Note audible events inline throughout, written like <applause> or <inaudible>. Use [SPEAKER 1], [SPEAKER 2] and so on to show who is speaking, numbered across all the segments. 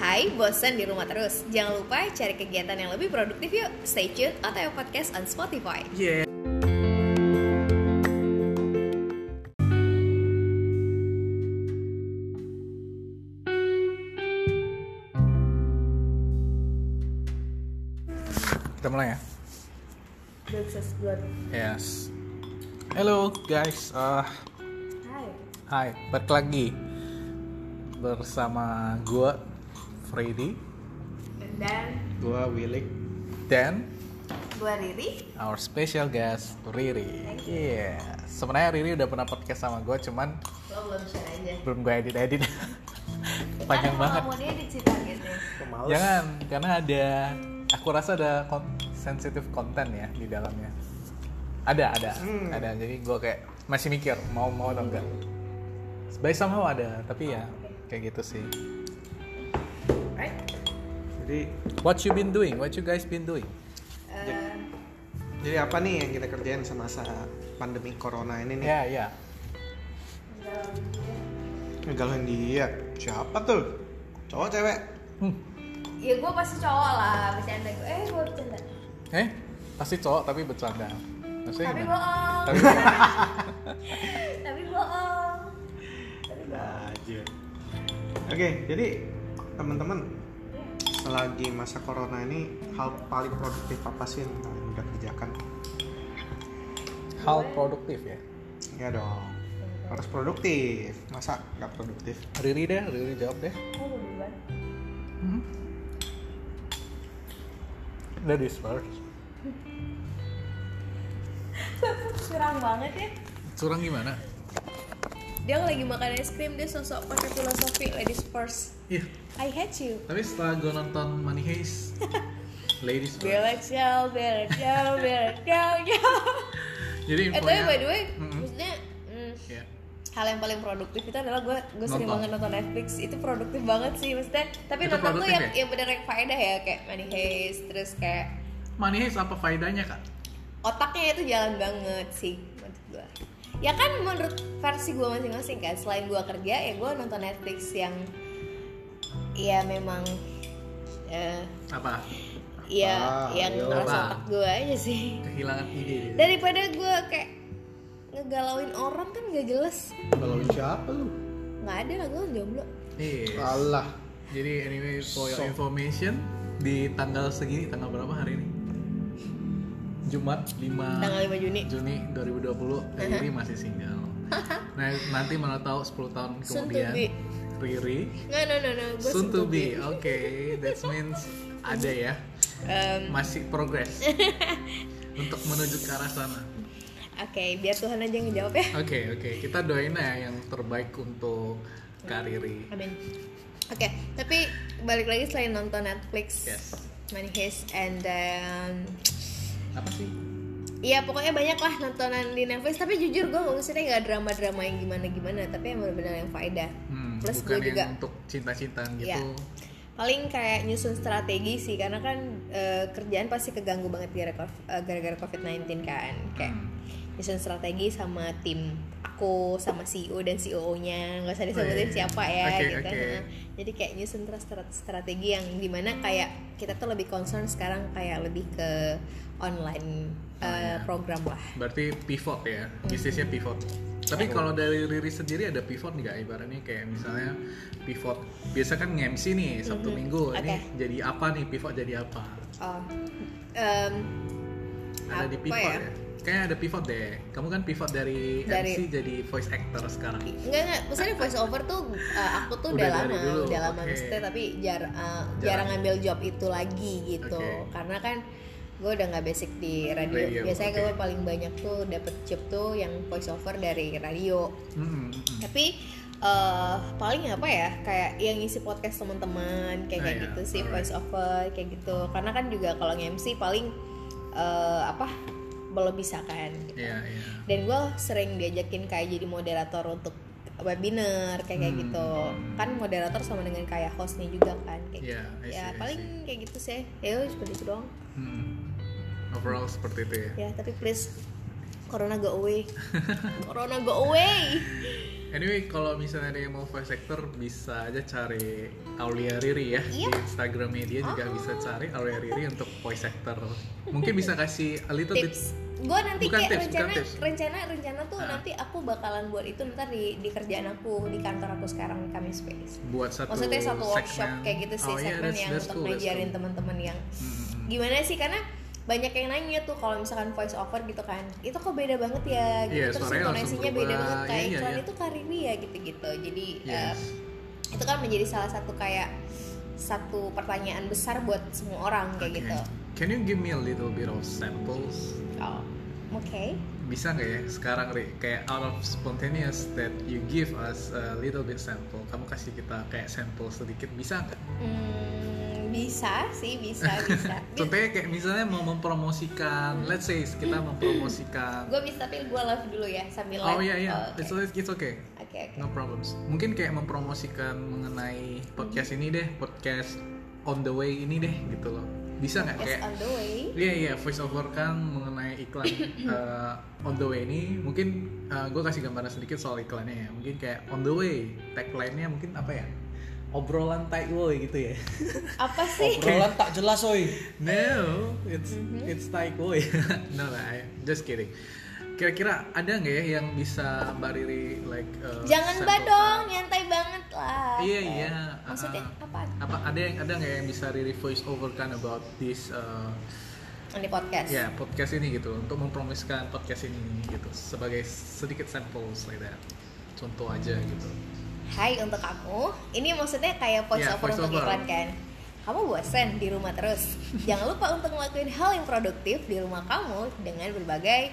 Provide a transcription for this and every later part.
[SPEAKER 1] Hai, bosan di rumah terus. Jangan lupa cari kegiatan yang lebih produktif yuk. Stay tune OTW Podcast on Spotify.
[SPEAKER 2] Yeah. Kita mulai ya.
[SPEAKER 1] Sukses buat
[SPEAKER 2] Yes. Hello guys. Uh,
[SPEAKER 1] Hai.
[SPEAKER 2] hai, balik lagi bersama gua Freddy,
[SPEAKER 1] Dan
[SPEAKER 3] gua Wilik
[SPEAKER 2] dan
[SPEAKER 1] gua Riri.
[SPEAKER 2] our special guest Riri. Iya. Sebenarnya Riri udah pernah podcast sama gua, cuman
[SPEAKER 1] Lo belum share aja.
[SPEAKER 2] belum gua edit edit. <laughs> Panjang
[SPEAKER 1] Ntar
[SPEAKER 2] banget.
[SPEAKER 1] Kalau mau dia dicerita gitu.
[SPEAKER 3] pemalas
[SPEAKER 2] Jangan, karena ada aku rasa ada kon- sensitif konten ya di dalamnya. Ada, ada, ada. Jadi gue kayak masih mikir mau mau atau enggak. By somehow ada, tapi ya kayak gitu sih.
[SPEAKER 1] Alright.
[SPEAKER 3] jadi
[SPEAKER 2] What you been doing? What you guys been doing?
[SPEAKER 1] Eh,
[SPEAKER 3] jadi apa nih yang kita kerjain semasa pandemi corona ini nih
[SPEAKER 2] Ya, ya.
[SPEAKER 1] dalam dia.
[SPEAKER 3] Ngegalauin dia siapa tuh cowok cewek
[SPEAKER 2] Hmm.
[SPEAKER 1] Ya gue pasti cowok lah, bercanda gue. Eh gue bercanda.
[SPEAKER 2] Eh, pasti cowok tapi bercanda. Maksudnya
[SPEAKER 1] Tapi
[SPEAKER 2] gimana?
[SPEAKER 1] bohong.
[SPEAKER 2] Tapi bohong.
[SPEAKER 1] Tapi bohong. Tapi bohong.
[SPEAKER 3] aja oke jadi teman-teman selagi masa corona ini hal paling produktif apa sih yang kalian udah kerjakan
[SPEAKER 2] Hal produktif ya.
[SPEAKER 3] ya dong harus produktif masa nggak produktif
[SPEAKER 2] Riri deh, Riri jawab deh.
[SPEAKER 1] Gue udah duluan.
[SPEAKER 2] Ladies first.
[SPEAKER 1] Curang banget ya.
[SPEAKER 2] Curang gimana?
[SPEAKER 1] Dia lagi makan es krim, dia sosok pakai filosofi ladies first.
[SPEAKER 2] Iya,
[SPEAKER 1] I hate you.
[SPEAKER 2] tapi setelah gue nonton Money Heist,
[SPEAKER 1] <laughs>
[SPEAKER 2] ladies first.
[SPEAKER 1] Bella ciao, Bella ciao, Bella ciao, ciao.
[SPEAKER 2] Jadi
[SPEAKER 1] Eh tapi
[SPEAKER 2] infonya-
[SPEAKER 1] by the way,
[SPEAKER 2] ya. Mm-mm.
[SPEAKER 1] maksudnya mm,
[SPEAKER 2] Iya.
[SPEAKER 1] hal yang paling produktif itu adalah gue gue sering
[SPEAKER 2] Nonton.
[SPEAKER 1] banget nonton Netflix itu produktif banget sih maksudnya. Tapi
[SPEAKER 2] Itu
[SPEAKER 1] nonton tuh
[SPEAKER 2] produktif
[SPEAKER 1] yang
[SPEAKER 2] ya?
[SPEAKER 1] yang bener yang faedah ya kayak money heist terus kayak
[SPEAKER 2] Money Heist apa faedahnya kak?
[SPEAKER 1] otaknya itu jalan banget sih menurut gue. Ya kan menurut versi gue masing-masing kan selain gue kerja ya gue nonton Netflix yang ya memang eh
[SPEAKER 2] Apa?
[SPEAKER 1] ya
[SPEAKER 2] Ah,
[SPEAKER 3] Apa?
[SPEAKER 1] yang
[SPEAKER 2] iya,
[SPEAKER 3] Ayo.
[SPEAKER 1] ngerasa
[SPEAKER 2] Apa?
[SPEAKER 1] otak gue aja sih.
[SPEAKER 2] Kehilangan ide gitu.
[SPEAKER 1] daripada gue kayak ngegalauin orang kan gak jelas
[SPEAKER 3] galauin siapa lu
[SPEAKER 1] nggak ada lah gue jomblo
[SPEAKER 2] Yes.
[SPEAKER 3] kalah
[SPEAKER 2] Jadi anyway for your
[SPEAKER 3] Sok.
[SPEAKER 2] information di tanggal segini tanggal berapa hari ini? Jumat 5
[SPEAKER 1] tanggal 5 Juni
[SPEAKER 2] Juni 2020 Riri masih single. Nah, nanti mana tahu 10 tahun
[SPEAKER 1] Soon to
[SPEAKER 2] kemudian
[SPEAKER 1] be.
[SPEAKER 2] Riri
[SPEAKER 1] nggak no no no gue
[SPEAKER 2] soon to be. Oke, that means ada ya. Masih
[SPEAKER 1] <laughs>
[SPEAKER 2] progress untuk menuju ke arah sana.
[SPEAKER 1] oke biar Tuhan aja yang ngejawab ya
[SPEAKER 2] Oke oke kita doain ya yang terbaik untuk Kariri.
[SPEAKER 1] amin oke tapi balik lagi selain nonton Netflix
[SPEAKER 2] Yes.
[SPEAKER 1] Money Heist and then
[SPEAKER 2] Apa sih?
[SPEAKER 1] Iya pokoknya banyak lah nontonan di Netflix Tapi jujur gue maksudnya nggak drama-drama yang gimana-gimana Tapi yang bener-bener yang faedah
[SPEAKER 2] Hmm,
[SPEAKER 1] Plus
[SPEAKER 2] bukan
[SPEAKER 1] gue juga
[SPEAKER 2] yang untuk cinta-cintaan gitu.
[SPEAKER 1] Iya. paling kayak nyusun strategi sih karena kan eh, kerjaan pasti keganggu banget gara- eh, gara-gara COVID-19 kan kayak
[SPEAKER 2] Hmm.
[SPEAKER 1] nyusun strategi sama tim aku sama CEO dan COO-nya nggak usah disebutin
[SPEAKER 2] Wih.
[SPEAKER 1] siapa ya
[SPEAKER 2] Oh, iya, Oke,
[SPEAKER 1] gitu kan
[SPEAKER 2] oke.
[SPEAKER 1] Nah, jadi kayak nyusun tra- stra- strategi yang dimana kayak kita tuh lebih concern sekarang kayak lebih ke online
[SPEAKER 2] Oh,
[SPEAKER 1] eh,
[SPEAKER 2] iya.
[SPEAKER 1] program lah
[SPEAKER 2] Berarti pivot ya,
[SPEAKER 1] Hmm.
[SPEAKER 2] bisnisnya pivot. Tapi
[SPEAKER 1] Iya.
[SPEAKER 2] kalau dari Riri sendiri ada pivot nggak? Ibaratnya kayak misalnya pivot, biasa kan nge-MC nih Sabtu Minggu,
[SPEAKER 1] Mhm.
[SPEAKER 2] ini
[SPEAKER 1] Oke.
[SPEAKER 2] jadi apa nih pivot jadi apa?
[SPEAKER 1] oh, em,
[SPEAKER 2] Ada di
[SPEAKER 1] Apa
[SPEAKER 2] pivot
[SPEAKER 1] ya?
[SPEAKER 2] ya? Kayaknya ada pivot deh. Kamu kan pivot dari,
[SPEAKER 1] Dari-
[SPEAKER 2] MC jadi voice actor sekarang.
[SPEAKER 1] Enggak enggak, maksudnya voice over tuh uh, aku tuh udah,
[SPEAKER 2] Udah
[SPEAKER 1] lama,
[SPEAKER 2] dari dulu,
[SPEAKER 1] udah lama
[SPEAKER 2] oke.
[SPEAKER 1] maksudnya tapi jar, uh, jarang.
[SPEAKER 2] Jarang.
[SPEAKER 1] ngambil job itu lagi gitu.
[SPEAKER 2] Oke.
[SPEAKER 1] Karena kan gue udah nggak basic di radio.
[SPEAKER 2] Radio,
[SPEAKER 1] Biasanya
[SPEAKER 2] oke.
[SPEAKER 1] gue paling banyak tuh dapet job tuh yang voice over dari radio.
[SPEAKER 2] Hmm, hmm, hmm.
[SPEAKER 1] Tapi eh, paling apa ya kayak yang ngisi podcast teman-teman kayak
[SPEAKER 2] Ah,
[SPEAKER 1] kayak
[SPEAKER 2] iya.
[SPEAKER 1] gitu sih
[SPEAKER 2] Alright.
[SPEAKER 1] voice over kayak gitu. Karena kan juga kalau MC paling eh, apa belum bisa kan. gitu
[SPEAKER 2] Iya iya.
[SPEAKER 1] dan gue sering diajakin kayak jadi moderator untuk webinar kayak kayak
[SPEAKER 2] Hmm.
[SPEAKER 1] gitu kan moderator sama dengan kayak hostnya juga kan kayak
[SPEAKER 2] Iya,
[SPEAKER 1] gitu.
[SPEAKER 2] I see,
[SPEAKER 1] ya
[SPEAKER 2] I
[SPEAKER 1] paling
[SPEAKER 2] see.
[SPEAKER 1] kayak gitu sih ya udah, seperti itu doang
[SPEAKER 2] Hmm. Overall seperti itu ya. <laughs>
[SPEAKER 1] ya tapi please corona go away corona go away
[SPEAKER 2] Anyway, kalau misalnya ada yang mau voice actor bisa aja cari Aulia Riri ya
[SPEAKER 1] Iya.
[SPEAKER 2] di Instagramnya dia juga
[SPEAKER 1] Oh.
[SPEAKER 2] bisa cari Aulia Riri untuk voice actor. Mungkin bisa kasih a little bit
[SPEAKER 1] tips gue nanti
[SPEAKER 2] Bukan
[SPEAKER 1] kayak
[SPEAKER 2] tips, bukan
[SPEAKER 1] rencana
[SPEAKER 2] tips.
[SPEAKER 1] rencana rencana tuh
[SPEAKER 2] Ah.
[SPEAKER 1] nanti aku bakalan buat itu ntar di di kerjaan aku di kantor aku sekarang kami space
[SPEAKER 2] buat satu
[SPEAKER 1] maksudnya satu workshop
[SPEAKER 2] segmen.
[SPEAKER 1] kayak gitu sih
[SPEAKER 2] oh, iya,
[SPEAKER 1] segmen
[SPEAKER 2] that's-
[SPEAKER 1] yang
[SPEAKER 2] that's
[SPEAKER 1] untuk
[SPEAKER 2] cool, that's
[SPEAKER 1] ngajarin
[SPEAKER 2] cool.
[SPEAKER 1] teman-teman yang
[SPEAKER 2] Mm-mm.
[SPEAKER 1] gimana sih karena banyak yang nanya tuh kalau misalkan voice over gitu kan itu kok beda banget ya gitu
[SPEAKER 2] Iya,
[SPEAKER 1] terus
[SPEAKER 2] suaranya langsung
[SPEAKER 1] intonasinya beda
[SPEAKER 2] berubah.
[SPEAKER 1] banget kayak
[SPEAKER 2] Iya, iya,
[SPEAKER 1] iklan
[SPEAKER 2] iya.
[SPEAKER 1] itu karimi ya gitu-gitu jadi eh,
[SPEAKER 2] Yes.
[SPEAKER 1] itu kan menjadi salah satu kayak satu pertanyaan besar buat semua orang kayak
[SPEAKER 2] Okay.
[SPEAKER 1] gitu
[SPEAKER 2] Can you give me a little bit of samples?
[SPEAKER 1] oh oke
[SPEAKER 2] Bisa nggak ya sekarang Ri? Kayak out of spontaneous that you give us a little bit sample. Kamu kasih kita kayak sampel sedikit bisa nggak?
[SPEAKER 1] Hmm, bisa sih
[SPEAKER 2] <laughs>
[SPEAKER 1] bisa bisa
[SPEAKER 2] Contohnya kayak misalnya mau mempromosikan, let's say kita mempromosikan.
[SPEAKER 1] gue bisa tapi gue live dulu ya sambil
[SPEAKER 2] Oh
[SPEAKER 1] live.
[SPEAKER 2] iya iya,
[SPEAKER 1] oke
[SPEAKER 2] it's, it's okay,
[SPEAKER 1] oke oke.
[SPEAKER 2] no problems. Mungkin kayak mempromosikan mengenai podcast ini deh, podcast on the way ini deh gitu loh. Bisa nggak
[SPEAKER 1] Yes,
[SPEAKER 2] kayak?
[SPEAKER 1] on the way
[SPEAKER 2] Iya iya voice over kan mengenai
[SPEAKER 1] <coughs>
[SPEAKER 2] iklan eh, on the way ini mungkin gue kasih gambaran sedikit soal iklannya ya mungkin kayak on the way tagline-nya mungkin apa ya obrolan tai woy
[SPEAKER 1] <laughs>
[SPEAKER 2] gitu ya <laughs>
[SPEAKER 1] apa sih
[SPEAKER 4] Obrolan tak jelas, oi.
[SPEAKER 2] no it's
[SPEAKER 1] Mm-hmm.
[SPEAKER 2] it's tai woy <laughs> no lah I- just kidding kira-kira ada nggak ya yang bisa mbak Riri like eh,
[SPEAKER 1] jangan
[SPEAKER 2] sample
[SPEAKER 1] mbak dong nyantai banget lah
[SPEAKER 2] Iya,
[SPEAKER 1] Kayak,
[SPEAKER 2] iya.
[SPEAKER 1] maksudnya
[SPEAKER 2] Ah.
[SPEAKER 1] apa
[SPEAKER 2] apa ada yang ada nggak yang bisa Riri voice over kan about this eh,
[SPEAKER 1] di podcast
[SPEAKER 2] ya podcast ini gitu untuk mempromosikan podcast ini gitu sebagai sedikit samples like that contoh aja gitu
[SPEAKER 1] Hai untuk kamu, ini maksudnya kayak voice
[SPEAKER 2] Iya,
[SPEAKER 1] over
[SPEAKER 2] voice
[SPEAKER 1] untuk
[SPEAKER 2] over.
[SPEAKER 1] iklan kan? Kamu bosen di rumah terus? Jangan lupa untuk ngelakuin hal yang produktif di rumah kamu dengan berbagai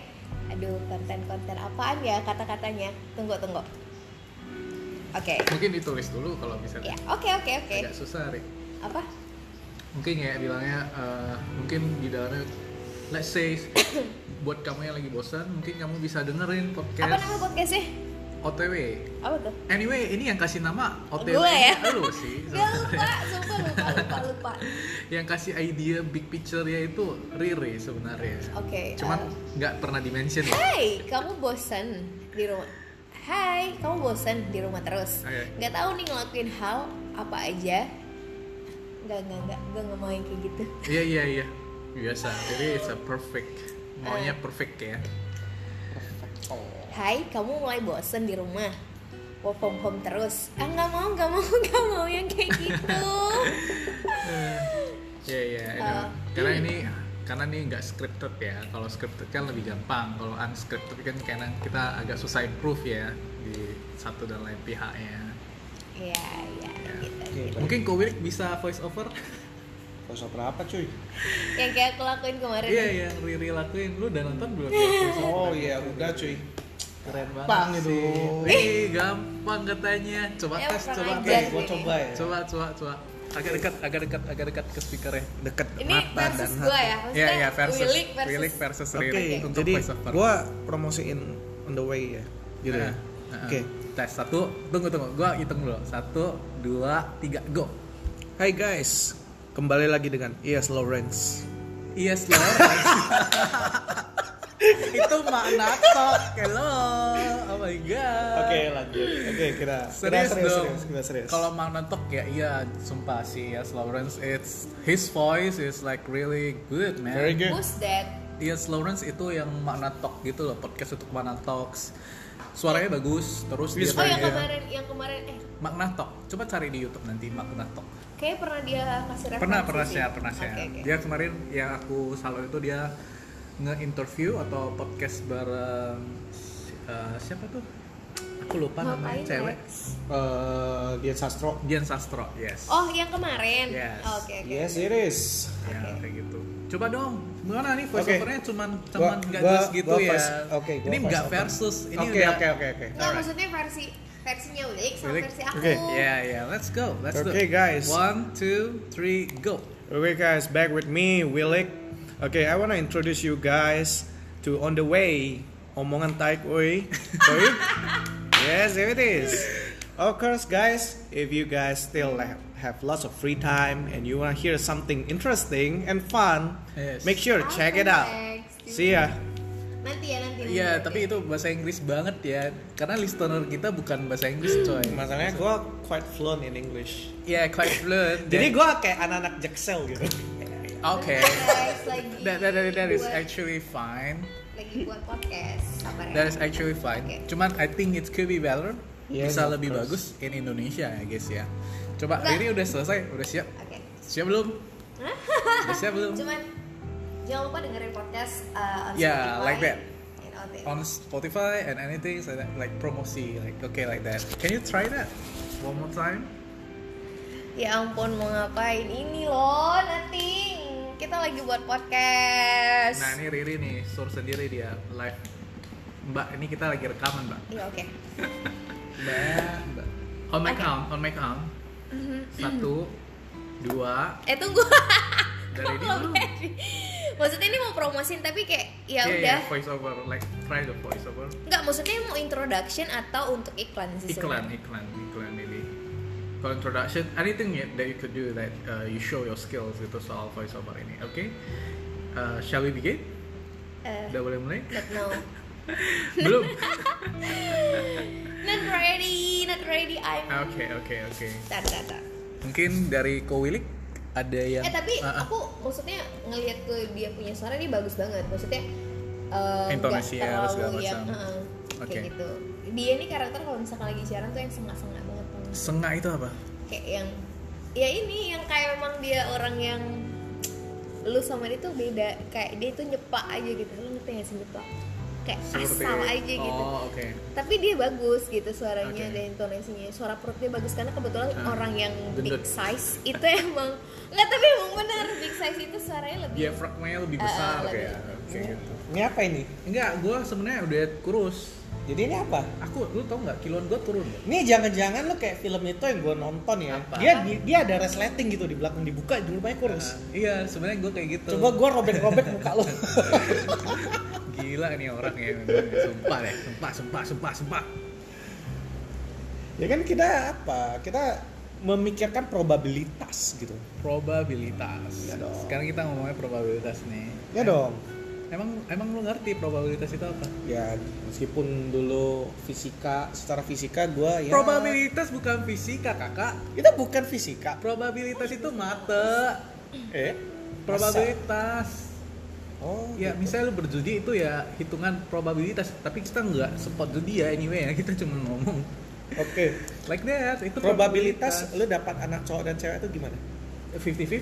[SPEAKER 1] aduh konten-konten apaan ya kata-katanya. Tunggu tunggu. Oke.
[SPEAKER 2] mungkin ditulis dulu kalau bisa
[SPEAKER 1] Ya, oke oke oke.
[SPEAKER 2] agak susah Rik.
[SPEAKER 1] Apa?
[SPEAKER 2] mungkin kayak bilangnya eh, mungkin di dalamnya let's say <coughs> buat kamu yang lagi bosan mungkin kamu bisa dengerin
[SPEAKER 1] Apa
[SPEAKER 2] podcast
[SPEAKER 1] nama podcastnya?
[SPEAKER 2] OTW
[SPEAKER 1] Apa tuh?
[SPEAKER 2] anyway ini yang kasih nama OTW
[SPEAKER 1] Gue ya?
[SPEAKER 2] <laughs> lu
[SPEAKER 1] <laughs>
[SPEAKER 2] sih
[SPEAKER 1] Gak lupa, sumpah lupa lupa lupa.
[SPEAKER 2] yang kasih idea big picture ya itu Riri sebenarnya
[SPEAKER 1] Oke.
[SPEAKER 2] cuman
[SPEAKER 1] eh,
[SPEAKER 2] nggak pernah dimention ya
[SPEAKER 1] Hai, kamu bosen di rumah. Hai, kamu bosen di rumah terus.
[SPEAKER 2] Oke.
[SPEAKER 1] Nggak tahu nih ngelakuin hal apa aja. Nggak, nggak, nggak. Gue nggak mau yang kayak gitu.
[SPEAKER 2] Iya iya iya biasa. Jadi it's a perfect maunya
[SPEAKER 1] Eh.
[SPEAKER 2] perfect ya.
[SPEAKER 1] Hai, kamu mulai bosen di rumah. Work from home terus. Ah, nggak mau, nggak mau, <laughs> nggak mau yang kayak gitu.
[SPEAKER 2] Iya iya. anyway.
[SPEAKER 1] Eh.
[SPEAKER 2] Karena ini karena ini nggak scripted ya. Kalau scripted kan lebih gampang. Kalau unscripted kan kadang kita agak susah improve ya di satu dan lain pihaknya.
[SPEAKER 1] Iya, iya, gitu.
[SPEAKER 4] Oke,
[SPEAKER 2] Mungkin Kowirik bisa voice over?
[SPEAKER 4] voice over apa, cuy?
[SPEAKER 1] Yang kayak aku lakuin kemarin.
[SPEAKER 2] Iya yang Riri lakuin. Lu udah nonton belum? ya voice over?
[SPEAKER 4] Oh iya, udah cuy.
[SPEAKER 2] Keren banget.
[SPEAKER 4] Gampang
[SPEAKER 2] sih.
[SPEAKER 4] itu.
[SPEAKER 2] Wih, gampang katanya. Coba
[SPEAKER 1] Ya,
[SPEAKER 2] tes,
[SPEAKER 1] kurang
[SPEAKER 2] coba
[SPEAKER 1] ajar.
[SPEAKER 2] tes.
[SPEAKER 4] Oke, gua coba ya.
[SPEAKER 2] Coba coba coba. Agak dekat, agak dekat, agak dekat ke ya. speakernya.
[SPEAKER 4] Deket.
[SPEAKER 1] Ini versus gue ya.
[SPEAKER 2] Iya
[SPEAKER 1] Maksudnya
[SPEAKER 2] iya versus
[SPEAKER 1] Willik versus.
[SPEAKER 2] Willik versus
[SPEAKER 4] Oke,
[SPEAKER 2] Riri untuk
[SPEAKER 4] jadi
[SPEAKER 2] voice over.
[SPEAKER 4] gua promosiin on the way ya. Gitu ya.
[SPEAKER 2] Nah, nah,
[SPEAKER 4] Oke.
[SPEAKER 2] Tes satu, tunggu tunggu, gua hitung dulu. Satu, dua, tiga, go.
[SPEAKER 4] Hai guys, kembali lagi dengan Yes Lawrence.
[SPEAKER 2] Yes
[SPEAKER 4] <laughs>
[SPEAKER 2] Lawrence. Itu Mak Nato. Hello. Oh my god.
[SPEAKER 4] lanjut. Oke, kita
[SPEAKER 2] Serius, dong.
[SPEAKER 4] kita serius.
[SPEAKER 2] Kalau Mak Nato ya iya sumpah sih Yes Lawrence it's his voice is like really good man.
[SPEAKER 4] very good.
[SPEAKER 2] Iya.
[SPEAKER 1] Who's that?
[SPEAKER 2] Yes Lawrence itu yang makna talk gitu loh podcast untuk makna talks suaranya bagus terus dia
[SPEAKER 1] Oh, yang
[SPEAKER 2] kayak-
[SPEAKER 1] kemarin, yang kemarin. Eh,
[SPEAKER 2] makna talk coba cari di YouTube nanti makna talk
[SPEAKER 1] Kayak pernah dia kasih referensi
[SPEAKER 2] pernah pernah
[SPEAKER 1] Kan sih.
[SPEAKER 2] share pernah share
[SPEAKER 1] Oke, oke.
[SPEAKER 2] dia kemarin yang aku salut itu dia nge-interview atau podcast bareng eh, siapa tuh aku lupa
[SPEAKER 1] Ngapain,
[SPEAKER 2] namanya
[SPEAKER 1] ya?
[SPEAKER 2] cewek
[SPEAKER 1] Lex?
[SPEAKER 4] Eh, Dian Sastro.
[SPEAKER 2] Dian Sastro yes
[SPEAKER 1] Oh, yang kemarin.
[SPEAKER 2] Yes.
[SPEAKER 1] Oh, Oke, oke.
[SPEAKER 4] Yes, it is.
[SPEAKER 2] ya
[SPEAKER 1] oke.
[SPEAKER 2] kayak gitu coba dong gimana nih voice
[SPEAKER 4] Oke.
[SPEAKER 2] overnya cuman
[SPEAKER 4] Gua-
[SPEAKER 2] cuman nggak
[SPEAKER 4] gua-
[SPEAKER 2] jelas gitu
[SPEAKER 4] gua
[SPEAKER 2] ya
[SPEAKER 4] voice- oke, gua
[SPEAKER 2] ini
[SPEAKER 4] voice
[SPEAKER 2] nggak
[SPEAKER 4] over.
[SPEAKER 2] versus ini
[SPEAKER 4] Oke,
[SPEAKER 2] udah
[SPEAKER 4] oke, oke, oke.
[SPEAKER 1] Nggak, maksudnya versi versinya Willy sama
[SPEAKER 2] Willy.
[SPEAKER 1] versi aku.
[SPEAKER 4] Oke.
[SPEAKER 2] Yeah, yeah, Ya, let's go. Let's do
[SPEAKER 4] Okay,
[SPEAKER 2] it.
[SPEAKER 4] guys.
[SPEAKER 2] One, two, three, go.
[SPEAKER 4] Okay guys, back with me, Willik. Okay, I wanna introduce you guys to On The Way, omongan taik oi. Oi. <laughs> yes, here it is. Of course guys, if you guys still have, have lots of free time and you wanna hear something interesting and fun,
[SPEAKER 2] Yes.
[SPEAKER 4] make sure check it out.
[SPEAKER 1] Alex,
[SPEAKER 4] See ya.
[SPEAKER 1] Nanti ya nanti. nanti,
[SPEAKER 2] Iya,
[SPEAKER 1] nanti.
[SPEAKER 2] tapi itu bahasa Inggris banget ya. Karena listener kita bukan bahasa Inggris, coy.
[SPEAKER 4] Masalahnya gue quite fluent in English.
[SPEAKER 2] Iya, quite fluent.
[SPEAKER 4] Jadi gue kayak anak-anak jaksel gitu.
[SPEAKER 2] Oke.
[SPEAKER 1] Guys, lagi
[SPEAKER 2] That, that, that- that is
[SPEAKER 1] buat-
[SPEAKER 2] actually fine.
[SPEAKER 1] lagi buat podcast. Sabar ya.
[SPEAKER 2] That is actually fine.
[SPEAKER 1] Oke.
[SPEAKER 2] Cuman I think it could be better.
[SPEAKER 4] Yeah,
[SPEAKER 2] Bisa
[SPEAKER 4] of
[SPEAKER 2] lebih
[SPEAKER 4] course.
[SPEAKER 2] bagus in Indonesia, I guess ya. Coba
[SPEAKER 1] Enggak.
[SPEAKER 2] ini udah selesai, udah siap.
[SPEAKER 1] Oke.
[SPEAKER 2] Siap belum? Udah siap belum?
[SPEAKER 1] Cuman jangan lupa dengerin podcast uh, on
[SPEAKER 2] Yeah,
[SPEAKER 1] Spotify
[SPEAKER 2] like that.
[SPEAKER 1] and on the-
[SPEAKER 2] On Spotify and anything so that, like promosi, like okay like that. Can you try that one more time?
[SPEAKER 1] Ya ampun mau ngapain ini loh nothing. Kita lagi buat podcast.
[SPEAKER 2] Nah ini Riri nih, suruh sendiri dia live. Mbak, ini kita lagi rekaman mbak.
[SPEAKER 1] Iya oke.
[SPEAKER 2] Mbak, mbak. On my count, on my count.
[SPEAKER 1] Mhm.
[SPEAKER 2] Satu, dua.
[SPEAKER 1] Eh tunggu.
[SPEAKER 2] <laughs> Dari
[SPEAKER 1] Kok
[SPEAKER 2] ini
[SPEAKER 1] belum
[SPEAKER 2] dulu. Iya,
[SPEAKER 1] ready? Maksudnya ini mau promosin tapi kayak ya
[SPEAKER 2] Yeah,
[SPEAKER 1] udah.
[SPEAKER 2] yeah, voice over, like try the voice over.
[SPEAKER 1] Enggak, maksudnya mau introduction atau untuk iklan sih
[SPEAKER 2] Iklan,
[SPEAKER 1] sebenarnya?
[SPEAKER 2] iklan, iklan ini. Kalau introduction, anything yet that you could do that uh, you show your skills gitu soal voice over ini, oke? Uh, shall we begin?
[SPEAKER 1] Eh,
[SPEAKER 2] Udah boleh
[SPEAKER 1] <laughs>
[SPEAKER 2] mulai?
[SPEAKER 1] but no.
[SPEAKER 2] Belum.
[SPEAKER 1] Not ready, not ready. I'm.
[SPEAKER 2] Ah, Oke, oke, oke.
[SPEAKER 1] Tar, tar, tar.
[SPEAKER 2] Mungkin dari Kowilik ada yang.
[SPEAKER 1] Eh tapi
[SPEAKER 2] Ah, ah.
[SPEAKER 1] aku maksudnya ngelihat ke dia punya suara ini bagus banget. Maksudnya eh, nggak
[SPEAKER 2] Intonasinya harus
[SPEAKER 1] terlalu
[SPEAKER 2] ya, segala
[SPEAKER 1] yang,
[SPEAKER 2] macam.
[SPEAKER 1] eh, kayak
[SPEAKER 2] Oke.
[SPEAKER 1] gitu. Dia ini karakter kalau misalkan lagi siaran tuh yang sengak-sengak banget. Bang.
[SPEAKER 2] Sengak itu apa?
[SPEAKER 1] Kayak yang ya ini yang kayak memang dia orang yang lu sama dia tuh beda. Kayak dia tuh nyepak aja gitu. Lu ngerti gak sih nyepak? Kayak asal aja gitu.
[SPEAKER 2] Oh, oke.
[SPEAKER 1] tapi dia bagus gitu suaranya
[SPEAKER 2] Oke.
[SPEAKER 1] dan intonasinya suara perutnya bagus karena kebetulan
[SPEAKER 2] Ah,
[SPEAKER 1] orang yang big
[SPEAKER 2] gendut.
[SPEAKER 1] size itu emang nggak tapi emang bener big size itu suaranya lebih
[SPEAKER 2] Diafragmanya Iya, lebih
[SPEAKER 1] Ah,
[SPEAKER 2] besar
[SPEAKER 1] lebih.
[SPEAKER 2] kayak kayak gitu.
[SPEAKER 4] Ini apa ini?
[SPEAKER 2] Enggak, gue sebenarnya udah kurus.
[SPEAKER 4] Jadi ini apa?
[SPEAKER 2] Aku, lu tau nggak kiloan gue turun nggak?
[SPEAKER 4] Ini jangan-jangan lo kayak film itu yang gue nonton ya.
[SPEAKER 2] Apa?
[SPEAKER 4] Dia di- dia ada resleting gitu di belakang dibuka dulu banyak kurus.
[SPEAKER 2] Ah, iya, sebenarnya gue kayak gitu.
[SPEAKER 4] Coba gue robek-robek muka
[SPEAKER 2] <laughs>
[SPEAKER 4] lo.
[SPEAKER 2] Gila nih orang ya, memang. sumpah deh, sumpah, sumpah, sumpah, sumpah.
[SPEAKER 4] ya kan kita apa? Kita memikirkan probabilitas gitu.
[SPEAKER 2] Probabilitas.
[SPEAKER 4] Iya dong.
[SPEAKER 2] Sekarang kita ngomongnya probabilitas nih.
[SPEAKER 4] Ya dong.
[SPEAKER 2] Emang emang lu ngerti probabilitas itu apa?
[SPEAKER 4] Ya meskipun dulu fisika secara fisika gue ya.
[SPEAKER 2] Probabilitas bukan fisika, kakak.
[SPEAKER 4] Itu bukan fisika.
[SPEAKER 2] Probabilitas itu mate.
[SPEAKER 4] Eh? Masa?
[SPEAKER 2] Probabilitas.
[SPEAKER 4] Oh.
[SPEAKER 2] Ya,
[SPEAKER 4] gitu.
[SPEAKER 2] misalnya lu berjudi itu ya hitungan probabilitas, tapi kita nggak spot judi ya anyway ya, kita cuma ngomong.
[SPEAKER 4] Oke.
[SPEAKER 2] <laughs> Like that, itu
[SPEAKER 4] Probabilitas lu dapat anak cowok dan cewek itu gimana?
[SPEAKER 2] Iya.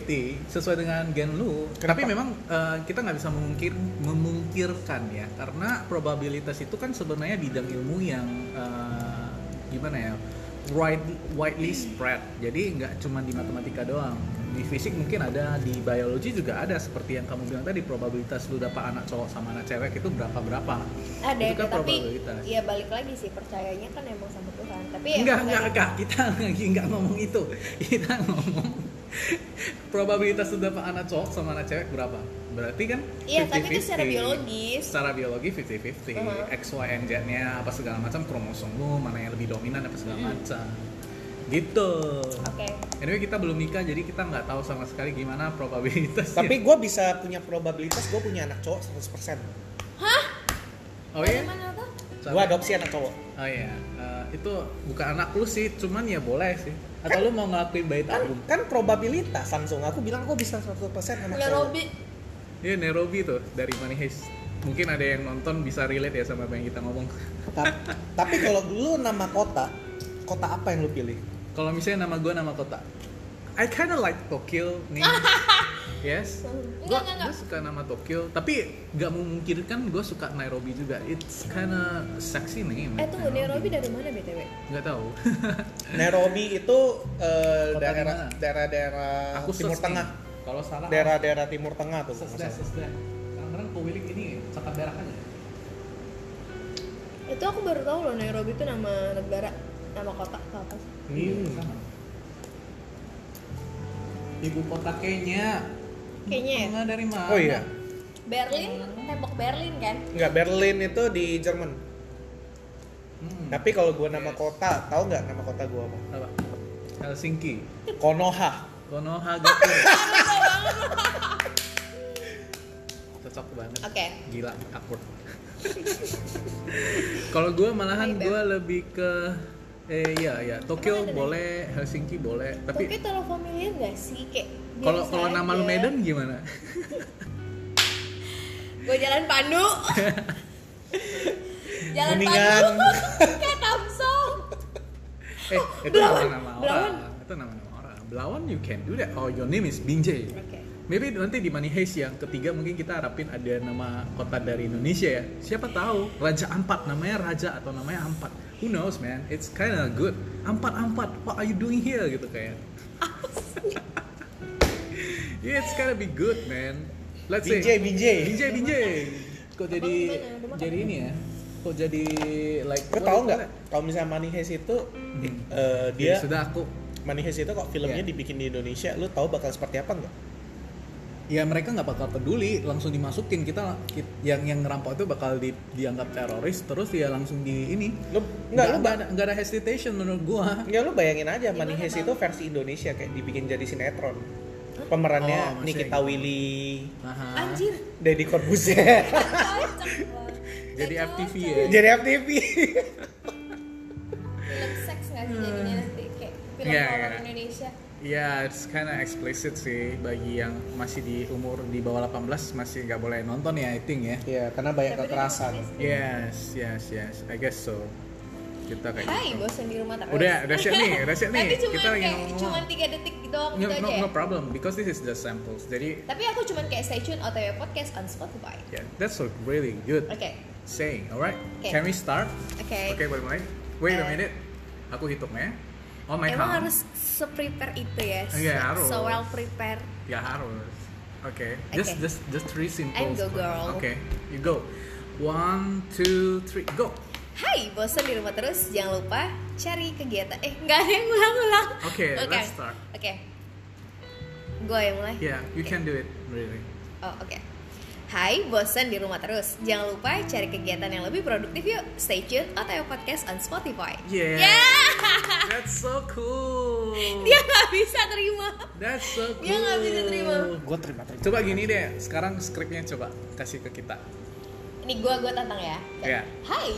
[SPEAKER 2] 50-50 sesuai dengan gen lu.
[SPEAKER 4] Kenapa?
[SPEAKER 2] Tapi memang eh, kita nggak bisa memungkir memungkirkan ya, karena probabilitas itu kan sebenarnya bidang ilmu yang eh, gimana ya, wide widely spread. Jadi nggak cuma di matematika doang. Di fisik mungkin ada, di biologi juga ada. Seperti yang kamu bilang tadi, probabilitas lu dapat anak cowok sama anak cewek itu berapa berapa.
[SPEAKER 1] ada gitu.
[SPEAKER 2] itu kan
[SPEAKER 1] tapi
[SPEAKER 2] probabilitas.
[SPEAKER 1] ya balik lagi sih percayanya kan emang sama Tuhan tapi ya
[SPEAKER 2] Enggak, enggak, enggak. Kita <laughs> lagi enggak ngomong itu. Kita <laughs> ngomong probabilitas sudah dapat anak cowok sama anak cewek berapa? Berarti kan
[SPEAKER 1] Iya, tapi itu secara
[SPEAKER 2] 50-50.
[SPEAKER 1] biologis.
[SPEAKER 2] Secara biologi 50-50.
[SPEAKER 1] Uh-huh.
[SPEAKER 2] X, Y, and Z-nya apa segala macam kromosom lu mana yang lebih dominan apa segala macam. Gitu.
[SPEAKER 1] Hmm. oke
[SPEAKER 2] Anyway, kita belum nikah jadi kita nggak tahu sama sekali gimana probabilitas.
[SPEAKER 4] Tapi gue bisa punya probabilitas gue punya anak cowok 100%.
[SPEAKER 2] oh
[SPEAKER 1] Dari
[SPEAKER 2] iya.
[SPEAKER 1] mana tuh
[SPEAKER 4] Gue adopsi anak cowok.
[SPEAKER 2] Oh iya. Eh, itu bukan anak lu sih, cuman ya boleh sih. Atau lu mau ngelakuin bayi
[SPEAKER 4] Kan,
[SPEAKER 2] tabung?
[SPEAKER 4] kan probabilitas langsung. Aku bilang gue bisa 100% anak
[SPEAKER 1] Mulai
[SPEAKER 4] cowok.
[SPEAKER 1] Ya, Robi
[SPEAKER 2] Iya Nairobi tuh dari Manihis. Mungkin ada yang nonton bisa relate ya sama apa yang kita ngomong.
[SPEAKER 4] Ta- Tapi kalau lu nama kota, kota apa yang lu pilih?
[SPEAKER 2] Kalau misalnya nama gue nama kota, I kinda like Tokyo
[SPEAKER 1] <laughs>
[SPEAKER 2] nih. yes. Gue
[SPEAKER 1] Enggak, enggak, enggak.
[SPEAKER 2] suka nama Tokyo, tapi nggak memungkinkan gue suka Nairobi juga. It's kinda sexy name.
[SPEAKER 1] eh tunggu Nairobi dari mana btw
[SPEAKER 2] Nggak
[SPEAKER 4] <laughs>
[SPEAKER 2] tahu.
[SPEAKER 4] Nairobi itu
[SPEAKER 2] Kota
[SPEAKER 4] eh,
[SPEAKER 2] di
[SPEAKER 4] daerah
[SPEAKER 2] mana?
[SPEAKER 4] daerah-daerah
[SPEAKER 2] Aku
[SPEAKER 4] timur
[SPEAKER 2] search Ah.
[SPEAKER 4] tengah.
[SPEAKER 2] nih. Kalau salah.
[SPEAKER 4] Daerah-daerah timur tengah tuh. kalau
[SPEAKER 2] Sesda,
[SPEAKER 4] nggak salah.
[SPEAKER 2] sesda. Sekarang pemilik ini cakap darah aja.
[SPEAKER 1] itu aku baru tahu loh Nairobi itu nama negara nama kota atau apa sih
[SPEAKER 2] Iya. sama. Ibu kota Kenya.
[SPEAKER 1] Kenya ya?
[SPEAKER 2] Bunga dari mana?
[SPEAKER 4] Oh iya.
[SPEAKER 1] Berlin tembok Berlin kan
[SPEAKER 4] Enggak, Berlin itu di Jerman.
[SPEAKER 2] Hmm.
[SPEAKER 4] Tapi kalau gue nama
[SPEAKER 2] Yes.
[SPEAKER 4] kota, tahu nggak nama kota gue apa?
[SPEAKER 2] apa? Helsinki.
[SPEAKER 4] Konoha.
[SPEAKER 2] Konoha
[SPEAKER 1] <laughs>
[SPEAKER 2] gitu. Cocok banget.
[SPEAKER 1] oke
[SPEAKER 2] Gila, awkward. Kalau gue malahan gue lebih ke eh ya ya Tokyo boleh, Helsinki boleh,
[SPEAKER 1] Tokyo
[SPEAKER 2] tapi
[SPEAKER 1] terlalu familiar gak sih kayak
[SPEAKER 2] kalau kalau nama lu Medan gimana?
[SPEAKER 1] gue jalan
[SPEAKER 2] <laughs>
[SPEAKER 1] Pandu jalan
[SPEAKER 4] Kuningan.
[SPEAKER 1] Pandu <laughs> kayak Kamsong
[SPEAKER 2] Eh,
[SPEAKER 4] Oh,
[SPEAKER 2] itu
[SPEAKER 1] Belawan,
[SPEAKER 2] nama
[SPEAKER 1] Belawan.
[SPEAKER 2] orang. Itu nama nama orang. Belawan you can do that. Oh, your name is Binjai.
[SPEAKER 1] Oke.
[SPEAKER 2] Maybe nanti di Money Heist yang ketiga mungkin kita harapin ada nama kota dari Indonesia ya. Siapa tahu Raja Ampat namanya Raja atau namanya Ampat. Who knows man? It's kinda good. Ampat Ampat, what are you doing here gitu
[SPEAKER 4] <laughs>
[SPEAKER 2] kayak. yeah, it's kinda be good man. Let's
[SPEAKER 4] Binjai,
[SPEAKER 2] say
[SPEAKER 4] Binjai.
[SPEAKER 2] Binjai Binjai. Kok jadi
[SPEAKER 1] gimana? Udah makan?
[SPEAKER 2] jadi ini ya? Kok jadi like
[SPEAKER 4] Kau tahu nggak? Kalau misalnya Money Heist itu eh,
[SPEAKER 2] Ya,
[SPEAKER 4] dia
[SPEAKER 2] sudah aku
[SPEAKER 4] Money Heist itu kok filmnya
[SPEAKER 2] Iya.
[SPEAKER 4] dibikin di Indonesia, lu tahu bakal seperti apa nggak?
[SPEAKER 2] ya mereka nggak bakal peduli langsung dimasukin kita ki- yang yang ngerampok itu bakal di- dianggap teroris terus ya langsung di ini
[SPEAKER 4] Lu nggak lu
[SPEAKER 2] nggak ada, nggak ada hesitation menurut gua
[SPEAKER 4] Enggak Ya, lu bayangin aja
[SPEAKER 1] Gimana,
[SPEAKER 4] Money Heist
[SPEAKER 1] Bang?
[SPEAKER 4] itu versi Indonesia kayak dibikin jadi sinetron. Pemerannya
[SPEAKER 2] Oh, maksudnya
[SPEAKER 4] Nikita
[SPEAKER 2] gitu.
[SPEAKER 4] Willy,
[SPEAKER 2] Aha.
[SPEAKER 1] anjir
[SPEAKER 4] Deddy Corbuzier.
[SPEAKER 2] <laughs>
[SPEAKER 4] <laughs>
[SPEAKER 1] cocok banget.
[SPEAKER 2] jadi
[SPEAKER 1] Cocok,
[SPEAKER 2] FTV
[SPEAKER 1] cocok.
[SPEAKER 2] ya
[SPEAKER 4] jadi FTV.
[SPEAKER 1] film seks nggak sih jadinya nanti kayak film
[SPEAKER 2] Iya,
[SPEAKER 1] horor
[SPEAKER 2] iya.
[SPEAKER 1] Indonesia
[SPEAKER 2] ya it's kinda explicit sih bagi yang masih di umur di bawah 18 masih nggak boleh nonton ya I think ya
[SPEAKER 4] Iya, karena banyak
[SPEAKER 1] Tapi
[SPEAKER 4] kekerasan.
[SPEAKER 1] di Netflix.
[SPEAKER 2] yes yes yes I guess so kita kayak
[SPEAKER 1] Hai,
[SPEAKER 2] gitu.
[SPEAKER 1] bosan di rumah terus.
[SPEAKER 2] Udah, udah siap nih, udah siap nih.
[SPEAKER 1] <laughs> Tapi cuman
[SPEAKER 2] Kita lagi
[SPEAKER 1] kayak
[SPEAKER 2] ngomong.
[SPEAKER 1] cuman 3 detik doang
[SPEAKER 2] no,
[SPEAKER 1] gitu
[SPEAKER 2] no,
[SPEAKER 1] aja. ya.
[SPEAKER 2] no problem because this is just samples jadi
[SPEAKER 1] Tapi aku cuman kayak stay tune OTW podcast on Spotify.
[SPEAKER 2] yeah that's a really good
[SPEAKER 1] Oke.
[SPEAKER 2] saying alright
[SPEAKER 1] Okay.
[SPEAKER 2] can we start
[SPEAKER 1] Oke.
[SPEAKER 2] Oke, boleh mulai. Wait a
[SPEAKER 1] Eh.
[SPEAKER 2] minute. Aku hitungnya. Oh my
[SPEAKER 1] Emang
[SPEAKER 2] count.
[SPEAKER 1] harus se-prepare itu ya.
[SPEAKER 2] Iya,
[SPEAKER 1] se-
[SPEAKER 2] harus.
[SPEAKER 1] So well prepared.
[SPEAKER 2] Ya harus. Oke. Just
[SPEAKER 1] Oke.
[SPEAKER 2] just just three simple.
[SPEAKER 1] I'm go
[SPEAKER 2] questions.
[SPEAKER 1] girl.
[SPEAKER 2] Oke, you go. One, two, three, go.
[SPEAKER 1] Hai, bosan di rumah terus. Jangan lupa cari kegiatan. Eh, nggak ada yang ulang-ulang.
[SPEAKER 2] Oke, let's start. Iya.
[SPEAKER 1] Oke. Gue yang mulai.
[SPEAKER 2] Yeah, you can do it. Really.
[SPEAKER 1] Oh, oke. Hai, bosan di rumah terus. Jangan lupa cari kegiatan yang lebih produktif yuk. Stay tune OTW podcast on Spotify.
[SPEAKER 2] Yeah.
[SPEAKER 1] Yeah.
[SPEAKER 2] That's so cool.
[SPEAKER 1] <laughs> dia nggak bisa terima
[SPEAKER 2] That's so cool.
[SPEAKER 1] Dia nggak bisa terima.
[SPEAKER 4] Gue terima terima.
[SPEAKER 2] Coba gini deh, sekarang skripnya coba kasih ke kita.
[SPEAKER 1] ini gua gua tantang ya
[SPEAKER 2] Iya.
[SPEAKER 1] hai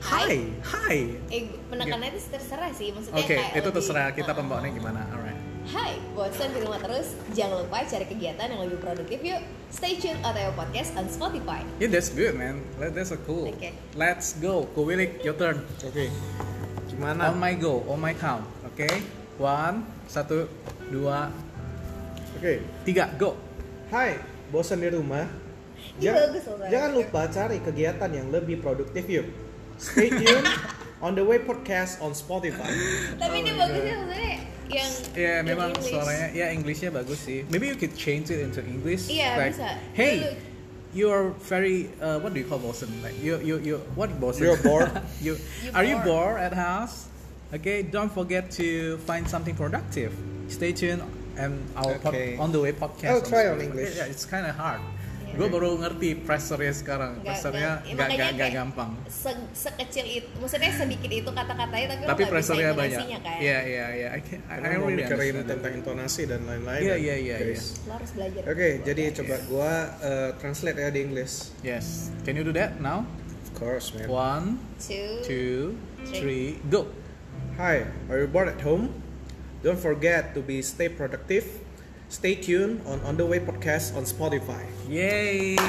[SPEAKER 2] Hi, hi.
[SPEAKER 1] eh penekanannya itu terserah sih maksudnya
[SPEAKER 2] Oke,
[SPEAKER 1] kayak
[SPEAKER 2] itu
[SPEAKER 1] lebih-
[SPEAKER 2] terserah kita
[SPEAKER 1] Ah.
[SPEAKER 2] pembawaannya gimana. Alright.
[SPEAKER 1] hai bosan di rumah terus jangan lupa cari kegiatan yang lebih produktif yuk stay tune OTW podcast on Spotify
[SPEAKER 2] Yeah, that's good, man. That- That's so cool.
[SPEAKER 1] Okay.
[SPEAKER 2] Let's go. Kuwilik, your turn.
[SPEAKER 4] Oke.
[SPEAKER 3] Gimana?
[SPEAKER 4] Nah.
[SPEAKER 2] On my go, on my count, oke? One, satu, dua,
[SPEAKER 4] Oke.
[SPEAKER 2] tiga, go.
[SPEAKER 4] Hai, bosan di rumah?
[SPEAKER 1] Ini
[SPEAKER 4] Ja-
[SPEAKER 1] bagus loh, Bang.
[SPEAKER 4] jangan lupa cari kegiatan yang lebih produktif yuk. Stay tune on the way podcast on Spotify.
[SPEAKER 1] tapi
[SPEAKER 2] Oh
[SPEAKER 1] ini bagusnya maksudnya yang
[SPEAKER 2] Ya
[SPEAKER 1] yang
[SPEAKER 2] memang
[SPEAKER 1] English.
[SPEAKER 2] suaranya, ya Inggrisnya bagus sih. Maybe you could change it into English.
[SPEAKER 1] Iya,
[SPEAKER 2] like,
[SPEAKER 1] bisa.
[SPEAKER 2] Hey,
[SPEAKER 1] Dulu.
[SPEAKER 2] you are very uh, what do you call bosan? Like you you you what bosan?
[SPEAKER 4] You're bored.
[SPEAKER 2] <laughs> you,
[SPEAKER 1] You
[SPEAKER 2] are you
[SPEAKER 1] bored.
[SPEAKER 2] bored at house? Okay, don't forget to find something productive. Stay tuned and our pod-
[SPEAKER 4] Okay.
[SPEAKER 2] on the way podcast.
[SPEAKER 4] I'll try on
[SPEAKER 2] Spotify.
[SPEAKER 4] English.
[SPEAKER 2] Yeah, it's kind of hard.
[SPEAKER 1] Yeah.
[SPEAKER 2] Gue baru ngerti pressernya sekarang.
[SPEAKER 1] Nggak-
[SPEAKER 2] Pressernya
[SPEAKER 1] nggak- Ya,
[SPEAKER 2] nggak
[SPEAKER 1] makanya
[SPEAKER 2] nggak- nggak
[SPEAKER 1] kayak
[SPEAKER 2] gampang.
[SPEAKER 1] se- sekecil itu maksudnya sedikit itu kata-katanya tapi,
[SPEAKER 2] tapi
[SPEAKER 1] lo nggak bisa
[SPEAKER 2] pressernya banyak.
[SPEAKER 1] intonasinya kan
[SPEAKER 2] Iya iya iya. I can I, I
[SPEAKER 4] Karena
[SPEAKER 2] don't
[SPEAKER 4] mau
[SPEAKER 2] really
[SPEAKER 4] mikirin
[SPEAKER 2] understand
[SPEAKER 4] tentang
[SPEAKER 2] it.
[SPEAKER 4] intonasi dan lain-lain.
[SPEAKER 2] Iya,
[SPEAKER 4] ya,
[SPEAKER 2] iya, iya,
[SPEAKER 4] guys.
[SPEAKER 2] iya.
[SPEAKER 1] lo harus belajar
[SPEAKER 4] Oke, jadi coba gua uh, translate ya di Inggris.
[SPEAKER 2] Yes. Can you do that now?
[SPEAKER 4] Of course, man.
[SPEAKER 2] One,
[SPEAKER 1] two,
[SPEAKER 2] two,
[SPEAKER 1] Three.
[SPEAKER 2] three, go.
[SPEAKER 4] Hi, are you bored at home? Don't forget to be stay productive. Stay tuned on On the Way podcast on Spotify.
[SPEAKER 2] Yay!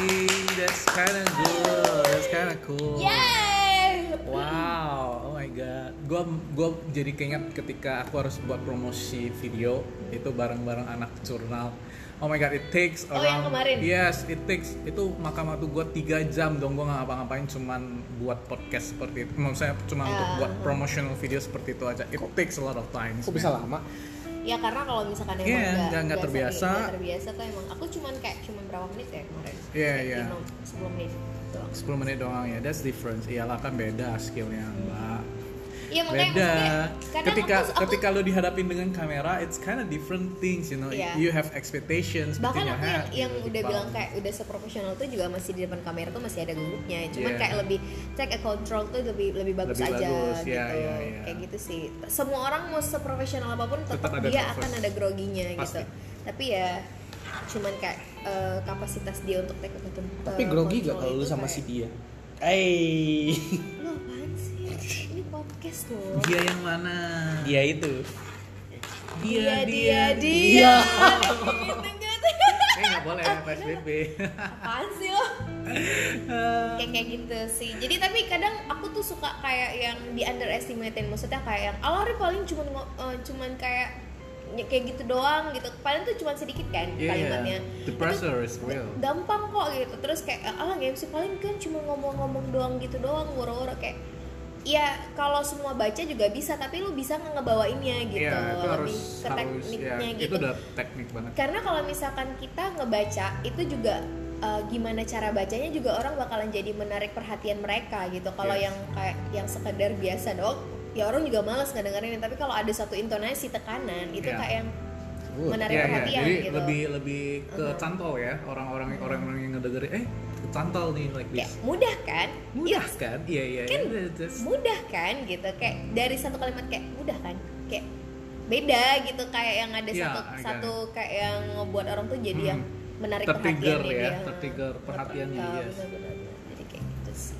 [SPEAKER 2] That's kind of good. That's kind of cool.
[SPEAKER 1] yay
[SPEAKER 2] Wow, oh my god. Gua gua jadi keinget ketika aku harus buat promosi video itu bareng-bareng anak jurnal. Oh my god, it takes
[SPEAKER 1] Oh, yang
[SPEAKER 2] around
[SPEAKER 1] kemarin?
[SPEAKER 2] Yes, it takes itu makan waktu gua 3 jam dong gua nggak ngapa-ngapain cuman buat podcast seperti itu. Maksudnya cuma untuk
[SPEAKER 1] Ah.
[SPEAKER 2] buat promotional video seperti itu aja. It takes a lot of time.
[SPEAKER 4] Kok bisa lama?
[SPEAKER 1] Ya karena kalau misalkan emang
[SPEAKER 2] Iya,
[SPEAKER 1] nggak-
[SPEAKER 2] nggak- nggak
[SPEAKER 1] nggak
[SPEAKER 2] terbiasa.
[SPEAKER 1] sering- nggak terbiasa tuh emang aku cuman kayak cuman berapa menit ya kemarin.
[SPEAKER 2] Iya,
[SPEAKER 1] Kayak
[SPEAKER 2] iya.
[SPEAKER 1] lima- Sepuluh menit. doang.
[SPEAKER 2] 10 menit doang ya, that's difference. Iyalah kan beda skillnya mbak.
[SPEAKER 1] Iya makanya
[SPEAKER 2] beda.
[SPEAKER 1] maksudnya kadang
[SPEAKER 2] Ketika
[SPEAKER 1] aku, aku,
[SPEAKER 2] ketika lo dihadapin dengan kamera, it's kind of different things, you know.
[SPEAKER 1] Iya.
[SPEAKER 2] You have expectations.
[SPEAKER 1] bahkan aku
[SPEAKER 2] between your gitu,
[SPEAKER 1] yang
[SPEAKER 2] head,
[SPEAKER 1] yang
[SPEAKER 2] your
[SPEAKER 1] udah
[SPEAKER 2] people.
[SPEAKER 1] bilang kayak udah seprofesional tuh juga masih di depan kamera tuh masih ada gugupnya. Cuman
[SPEAKER 2] Iya.
[SPEAKER 1] kayak lebih take a control tuh lebih lebih bagus
[SPEAKER 2] Lebih
[SPEAKER 1] aja
[SPEAKER 2] bagus,
[SPEAKER 1] gitu.
[SPEAKER 2] iya, iya, iya.
[SPEAKER 1] Kayak gitu sih. Semua orang mau seprofesional apapun tetap,
[SPEAKER 2] Tetap ada
[SPEAKER 1] dia
[SPEAKER 2] nervous.
[SPEAKER 1] akan ada groginya gitu.
[SPEAKER 2] Pasti.
[SPEAKER 1] Tapi ya cuman kayak eh, kapasitas dia untuk take a control.
[SPEAKER 4] Tapi grogi gak
[SPEAKER 1] control
[SPEAKER 4] kalau lu
[SPEAKER 1] itu
[SPEAKER 4] sama
[SPEAKER 1] kayak-
[SPEAKER 4] si dia? Hey,
[SPEAKER 1] Lu apaan sih? Ini podcast loh.
[SPEAKER 2] Dia yang mana?
[SPEAKER 4] dia itu.
[SPEAKER 1] Dia dia Iya, dia.
[SPEAKER 4] dia.
[SPEAKER 1] Gitu-gitu.
[SPEAKER 2] <laughs> Eh nggak boleh PSBB.
[SPEAKER 1] <laughs> Apaan sih lo? <laughs> kayak kayak gitu sih. Jadi tapi kadang aku tuh suka kayak yang di underestimatein. Maksudnya kayak yang alori paling cuman ngo- eh, cuman kayak ny- kayak gitu doang gitu. Paling tuh cuman sedikit
[SPEAKER 2] Iya,
[SPEAKER 1] kan kalimatnya. Tapi
[SPEAKER 2] The pressure is real.
[SPEAKER 1] gampang kok gitu terus kayak ala game sih paling kan cuma ngomong-ngomong doang gitu doang woro-woro kayak ya kalau semua baca juga bisa tapi lu bisa nggak ngebawainnya gitu
[SPEAKER 2] Iya, itu harus
[SPEAKER 1] lebih ke
[SPEAKER 2] harus ya,
[SPEAKER 1] tekniknya
[SPEAKER 2] itu
[SPEAKER 1] gitu
[SPEAKER 2] udah teknik banget.
[SPEAKER 1] karena kalau misalkan kita ngebaca itu juga eh, gimana cara bacanya juga orang bakalan jadi menarik perhatian mereka gitu kalau
[SPEAKER 2] Yes.
[SPEAKER 1] yang kayak yang sekedar biasa dong ya orang juga malas ngedengerin tapi kalau ada satu intonasi tekanan itu
[SPEAKER 2] Iya.
[SPEAKER 1] kayak yang
[SPEAKER 2] Good.
[SPEAKER 1] menarik
[SPEAKER 2] Iya, iya.
[SPEAKER 1] perhatian
[SPEAKER 2] Jadi
[SPEAKER 1] gitu Uh-huh.
[SPEAKER 2] lebih lebih ke cantol ya orang-orang orang-orang yang ngedengerin eh cantol nih like
[SPEAKER 1] Kayak
[SPEAKER 2] this.
[SPEAKER 1] mudah kan
[SPEAKER 2] Mudah kan? Iya iya
[SPEAKER 1] Kan
[SPEAKER 2] iya. That's-
[SPEAKER 1] mudah kan gitu kayak dari satu kalimat kayak mudah kan kayak beda gitu kayak yang ada
[SPEAKER 2] Iya,
[SPEAKER 1] satu
[SPEAKER 2] I got
[SPEAKER 1] satu kayak yang ngebuat orang tuh jadi
[SPEAKER 2] Hmm.
[SPEAKER 1] yang menarik
[SPEAKER 2] Tertrigger
[SPEAKER 1] perhatiannya
[SPEAKER 2] ya,
[SPEAKER 1] dia.
[SPEAKER 2] tertrigger perhatiannya,
[SPEAKER 1] Betul,
[SPEAKER 2] yes.
[SPEAKER 1] eh, benar-benar. jadi kayak gitu sih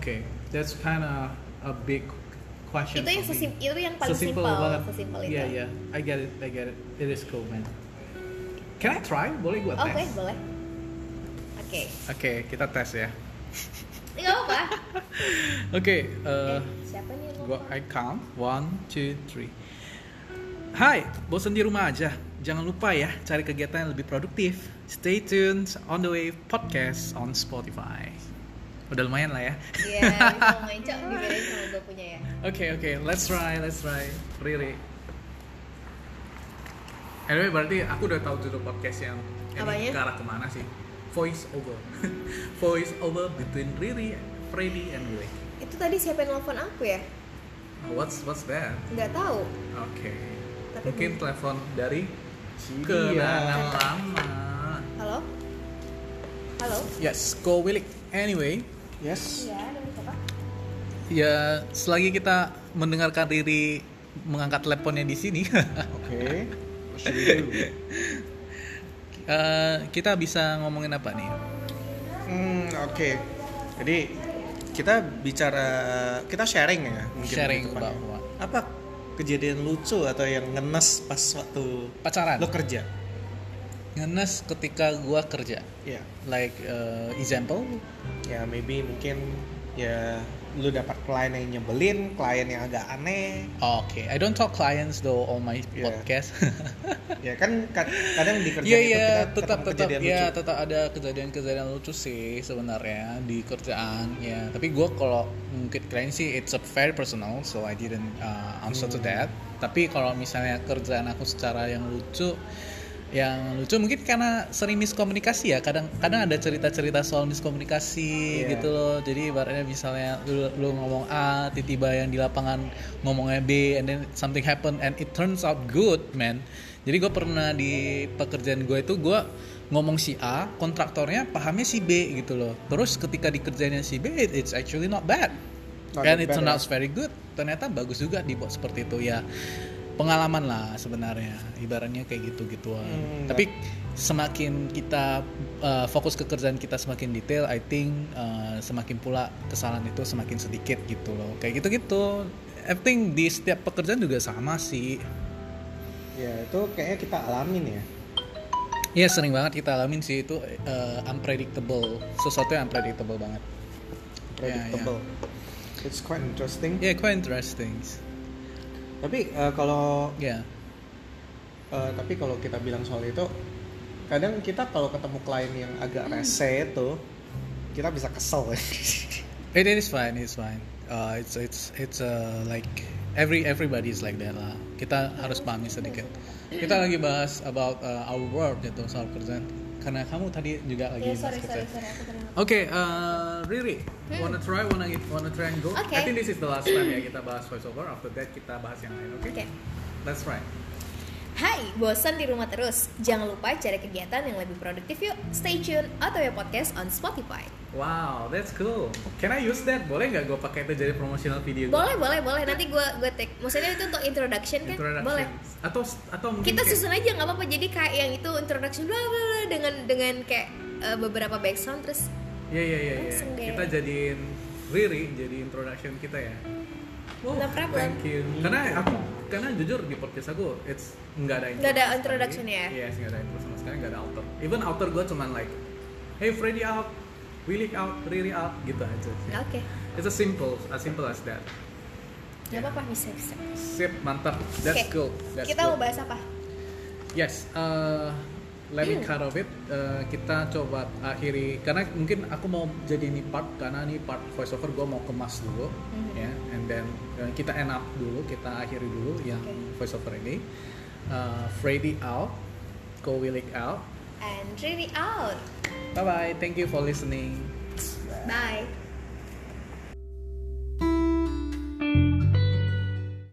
[SPEAKER 2] Okay, that's kind of a big question.
[SPEAKER 1] itu yang
[SPEAKER 2] for me.
[SPEAKER 1] sesim- itu yang paling
[SPEAKER 2] Sesimpel
[SPEAKER 1] simpel
[SPEAKER 2] banget.
[SPEAKER 1] sesimpel itu
[SPEAKER 2] Yeah, yeah. I get it. I get it. It is cool, man. Can I try? Boleh gua
[SPEAKER 1] oke
[SPEAKER 2] tes?
[SPEAKER 1] boleh oke
[SPEAKER 2] Oke, kita tes ya.
[SPEAKER 1] ini nggak apa
[SPEAKER 2] Oke, eh
[SPEAKER 1] siapa nih yang
[SPEAKER 2] gua
[SPEAKER 1] mau
[SPEAKER 2] I count. One, two, three. Hai, bosan di rumah aja. Jangan lupa ya cari kegiatan yang lebih produktif. Stay tuned on the Wave podcast on Spotify. Udah lumayan lah ya.
[SPEAKER 1] Iya, bisa main cok dibedain sama gue punya ya
[SPEAKER 2] Oke oke, let's try, let's try. Riri. Anyway, berarti aku udah tahu judul podcast yang
[SPEAKER 1] Apanya?
[SPEAKER 2] ini ke arah kemana sih? Voice over, <laughs> voice over between Riri, Freddy, and Willy.
[SPEAKER 1] itu tadi siapa yang nelfon aku ya
[SPEAKER 2] What's what's that?
[SPEAKER 1] nggak tahu
[SPEAKER 2] Oke.
[SPEAKER 1] Tapi Kan-
[SPEAKER 2] Mungkin
[SPEAKER 1] belum-
[SPEAKER 2] telepon dari
[SPEAKER 4] Dia.
[SPEAKER 2] kenangan lama.
[SPEAKER 1] halo halo
[SPEAKER 2] Yes, go Willy. Anyway,
[SPEAKER 4] Yes.
[SPEAKER 1] iya ada siapa
[SPEAKER 2] ya selagi kita mendengarkan Riri mengangkat teleponnya di sini. <laughs>
[SPEAKER 4] Oke.
[SPEAKER 2] Eh, kita bisa ngomongin apa nih?
[SPEAKER 4] <laughs> Hmm, oke. Jadi kita bicara kita sharing ya mungkin
[SPEAKER 2] Sharing
[SPEAKER 4] gitu, Pak.
[SPEAKER 2] bahwa
[SPEAKER 4] apa kejadian lucu atau yang ngenes pas waktu
[SPEAKER 2] pacaran.
[SPEAKER 4] lo kerja.
[SPEAKER 2] Ngenes ketika gua kerja.
[SPEAKER 4] Ya.
[SPEAKER 2] Like eh, example,
[SPEAKER 4] Ya maybe mungkin ya lu dapat klien yang nyebelin, klien yang agak aneh.
[SPEAKER 2] oke, I don't talk clients though on my <laughs>
[SPEAKER 4] Yeah.
[SPEAKER 2] podcast.
[SPEAKER 4] ya kan kad- kadang di kerjaan
[SPEAKER 2] Iya
[SPEAKER 4] itu
[SPEAKER 2] iya,
[SPEAKER 4] kita
[SPEAKER 2] tetap
[SPEAKER 4] ketemu
[SPEAKER 2] tetap
[SPEAKER 4] kejadian
[SPEAKER 2] ya
[SPEAKER 4] lucu.
[SPEAKER 2] tetap ada kejadian-kejadian lucu sih sebenarnya di kerjaan ya. Tapi gua kalau mungkin klien sih it's a very personal, so I didn't uh, answer to that. Tapi kalau misalnya kerjaan aku secara yang lucu, yang lucu mungkin karena sering miskomunikasi ya kadang kadang ada cerita-cerita soal miskomunikasi
[SPEAKER 4] Iya.
[SPEAKER 2] gitu loh jadi ibaratnya misalnya lu, lu ngomong A tiba-tiba yang di lapangan ngomongnya B and then something happen and it turns out good man jadi gue pernah di pekerjaan gue itu gue ngomong si A kontraktornya pahamnya si B gitu loh terus ketika dikerjainnya si B it- it's actually not bad
[SPEAKER 4] Not
[SPEAKER 2] and
[SPEAKER 4] that
[SPEAKER 2] it
[SPEAKER 4] bad,
[SPEAKER 2] turned
[SPEAKER 4] ya.
[SPEAKER 2] out very good ternyata bagus juga dibuat seperti itu ya pengalaman lah sebenarnya ibaratnya kayak gitu gituan
[SPEAKER 4] Hmm,
[SPEAKER 2] tapi semakin kita uh, fokus ke kerjaan kita semakin detail I think uh, semakin pula kesalahan itu semakin sedikit gitu loh kayak gitu gitu I think di setiap pekerjaan juga sama sih
[SPEAKER 4] Ya itu kayaknya kita alamin ya.
[SPEAKER 2] ya sering banget kita alamin sih itu uh, unpredictable sesuatu yang unpredictable banget
[SPEAKER 4] Predictable. It's quite interesting.
[SPEAKER 2] ya yeah, quite interesting
[SPEAKER 4] Tapi eh, kalau
[SPEAKER 2] ya
[SPEAKER 4] Eh, tapi kalau kita bilang soal itu kadang kita kalau ketemu klien yang agak
[SPEAKER 2] Hmm.
[SPEAKER 4] rese itu kita bisa kesel <laughs>
[SPEAKER 2] It is fine, it's fine. Uh, it's it's it's uh, like every everybody is like that lah. Kita harus pahami sedikit. Kita lagi bahas about uh, our work gitu soal kerjaan. Karena kamu tadi juga lagi
[SPEAKER 1] ya
[SPEAKER 2] bahas
[SPEAKER 1] sorry sorry
[SPEAKER 2] kerjaan.
[SPEAKER 1] sorry Hmm. aku terima
[SPEAKER 2] Oke, uh, Riri, wanna try, wanna wanna try and go?
[SPEAKER 1] Oke.
[SPEAKER 2] I think this is the last time ya kita bahas voiceover. After that kita bahas yang lain, oke?
[SPEAKER 1] Oke.
[SPEAKER 2] That's right.
[SPEAKER 1] Hai, bosan di rumah terus? Jangan lupa cari kegiatan yang lebih produktif yuk. Stay tune atau ya podcast on Spotify.
[SPEAKER 2] Wow, that's cool. Can I use that? Boleh nggak gue pakai itu jadi promotional video? gua?
[SPEAKER 1] Boleh, boleh, boleh. Nanti gue gue take. Maksudnya itu untuk introduction kan?
[SPEAKER 2] Introduction.
[SPEAKER 1] Boleh.
[SPEAKER 2] Atau atau mungkin
[SPEAKER 1] Kita
[SPEAKER 2] kayak-
[SPEAKER 1] susun aja nggak apa-apa. Jadi kayak yang itu introduction bla bla bla dengan dengan kayak eh, beberapa background terus
[SPEAKER 2] Iya iya iya. iya.
[SPEAKER 1] Langsung deh.
[SPEAKER 2] Kita jadiin Riri jadi introduction kita ya. Oh,
[SPEAKER 1] No problem.
[SPEAKER 2] thank you. Karena aku karena jujur di podcast aku it's nggak ada intro.
[SPEAKER 1] Nggak ada
[SPEAKER 2] sama
[SPEAKER 1] introduction
[SPEAKER 2] sekali.
[SPEAKER 1] ya?
[SPEAKER 2] Yes, nggak ada intro sama sekali, nggak ada outer. Even outer gue cuman like, hey Freddy out, Willy out, Riri out, gitu aja. sih.
[SPEAKER 1] Oke,
[SPEAKER 2] It's as simple, as simple as that.
[SPEAKER 1] nggak apa-apa bisa bisa.
[SPEAKER 2] Sip, mantap. That's
[SPEAKER 1] Oke,
[SPEAKER 2] cool. That's
[SPEAKER 1] kita mau
[SPEAKER 2] cool.
[SPEAKER 1] bahas apa?
[SPEAKER 2] Yes, uh, let me cut off it. Uh, kita coba akhiri karena mungkin aku mau jadi ini part karena ini part voiceover gue mau kemas dulu, ya. And then uh, kita end up dulu, kita akhiri dulu yang voiceover ini. Uh, Freddy out, Ko Willik out.
[SPEAKER 1] And really out.
[SPEAKER 2] Bye bye. Thank you for listening.
[SPEAKER 1] Bye.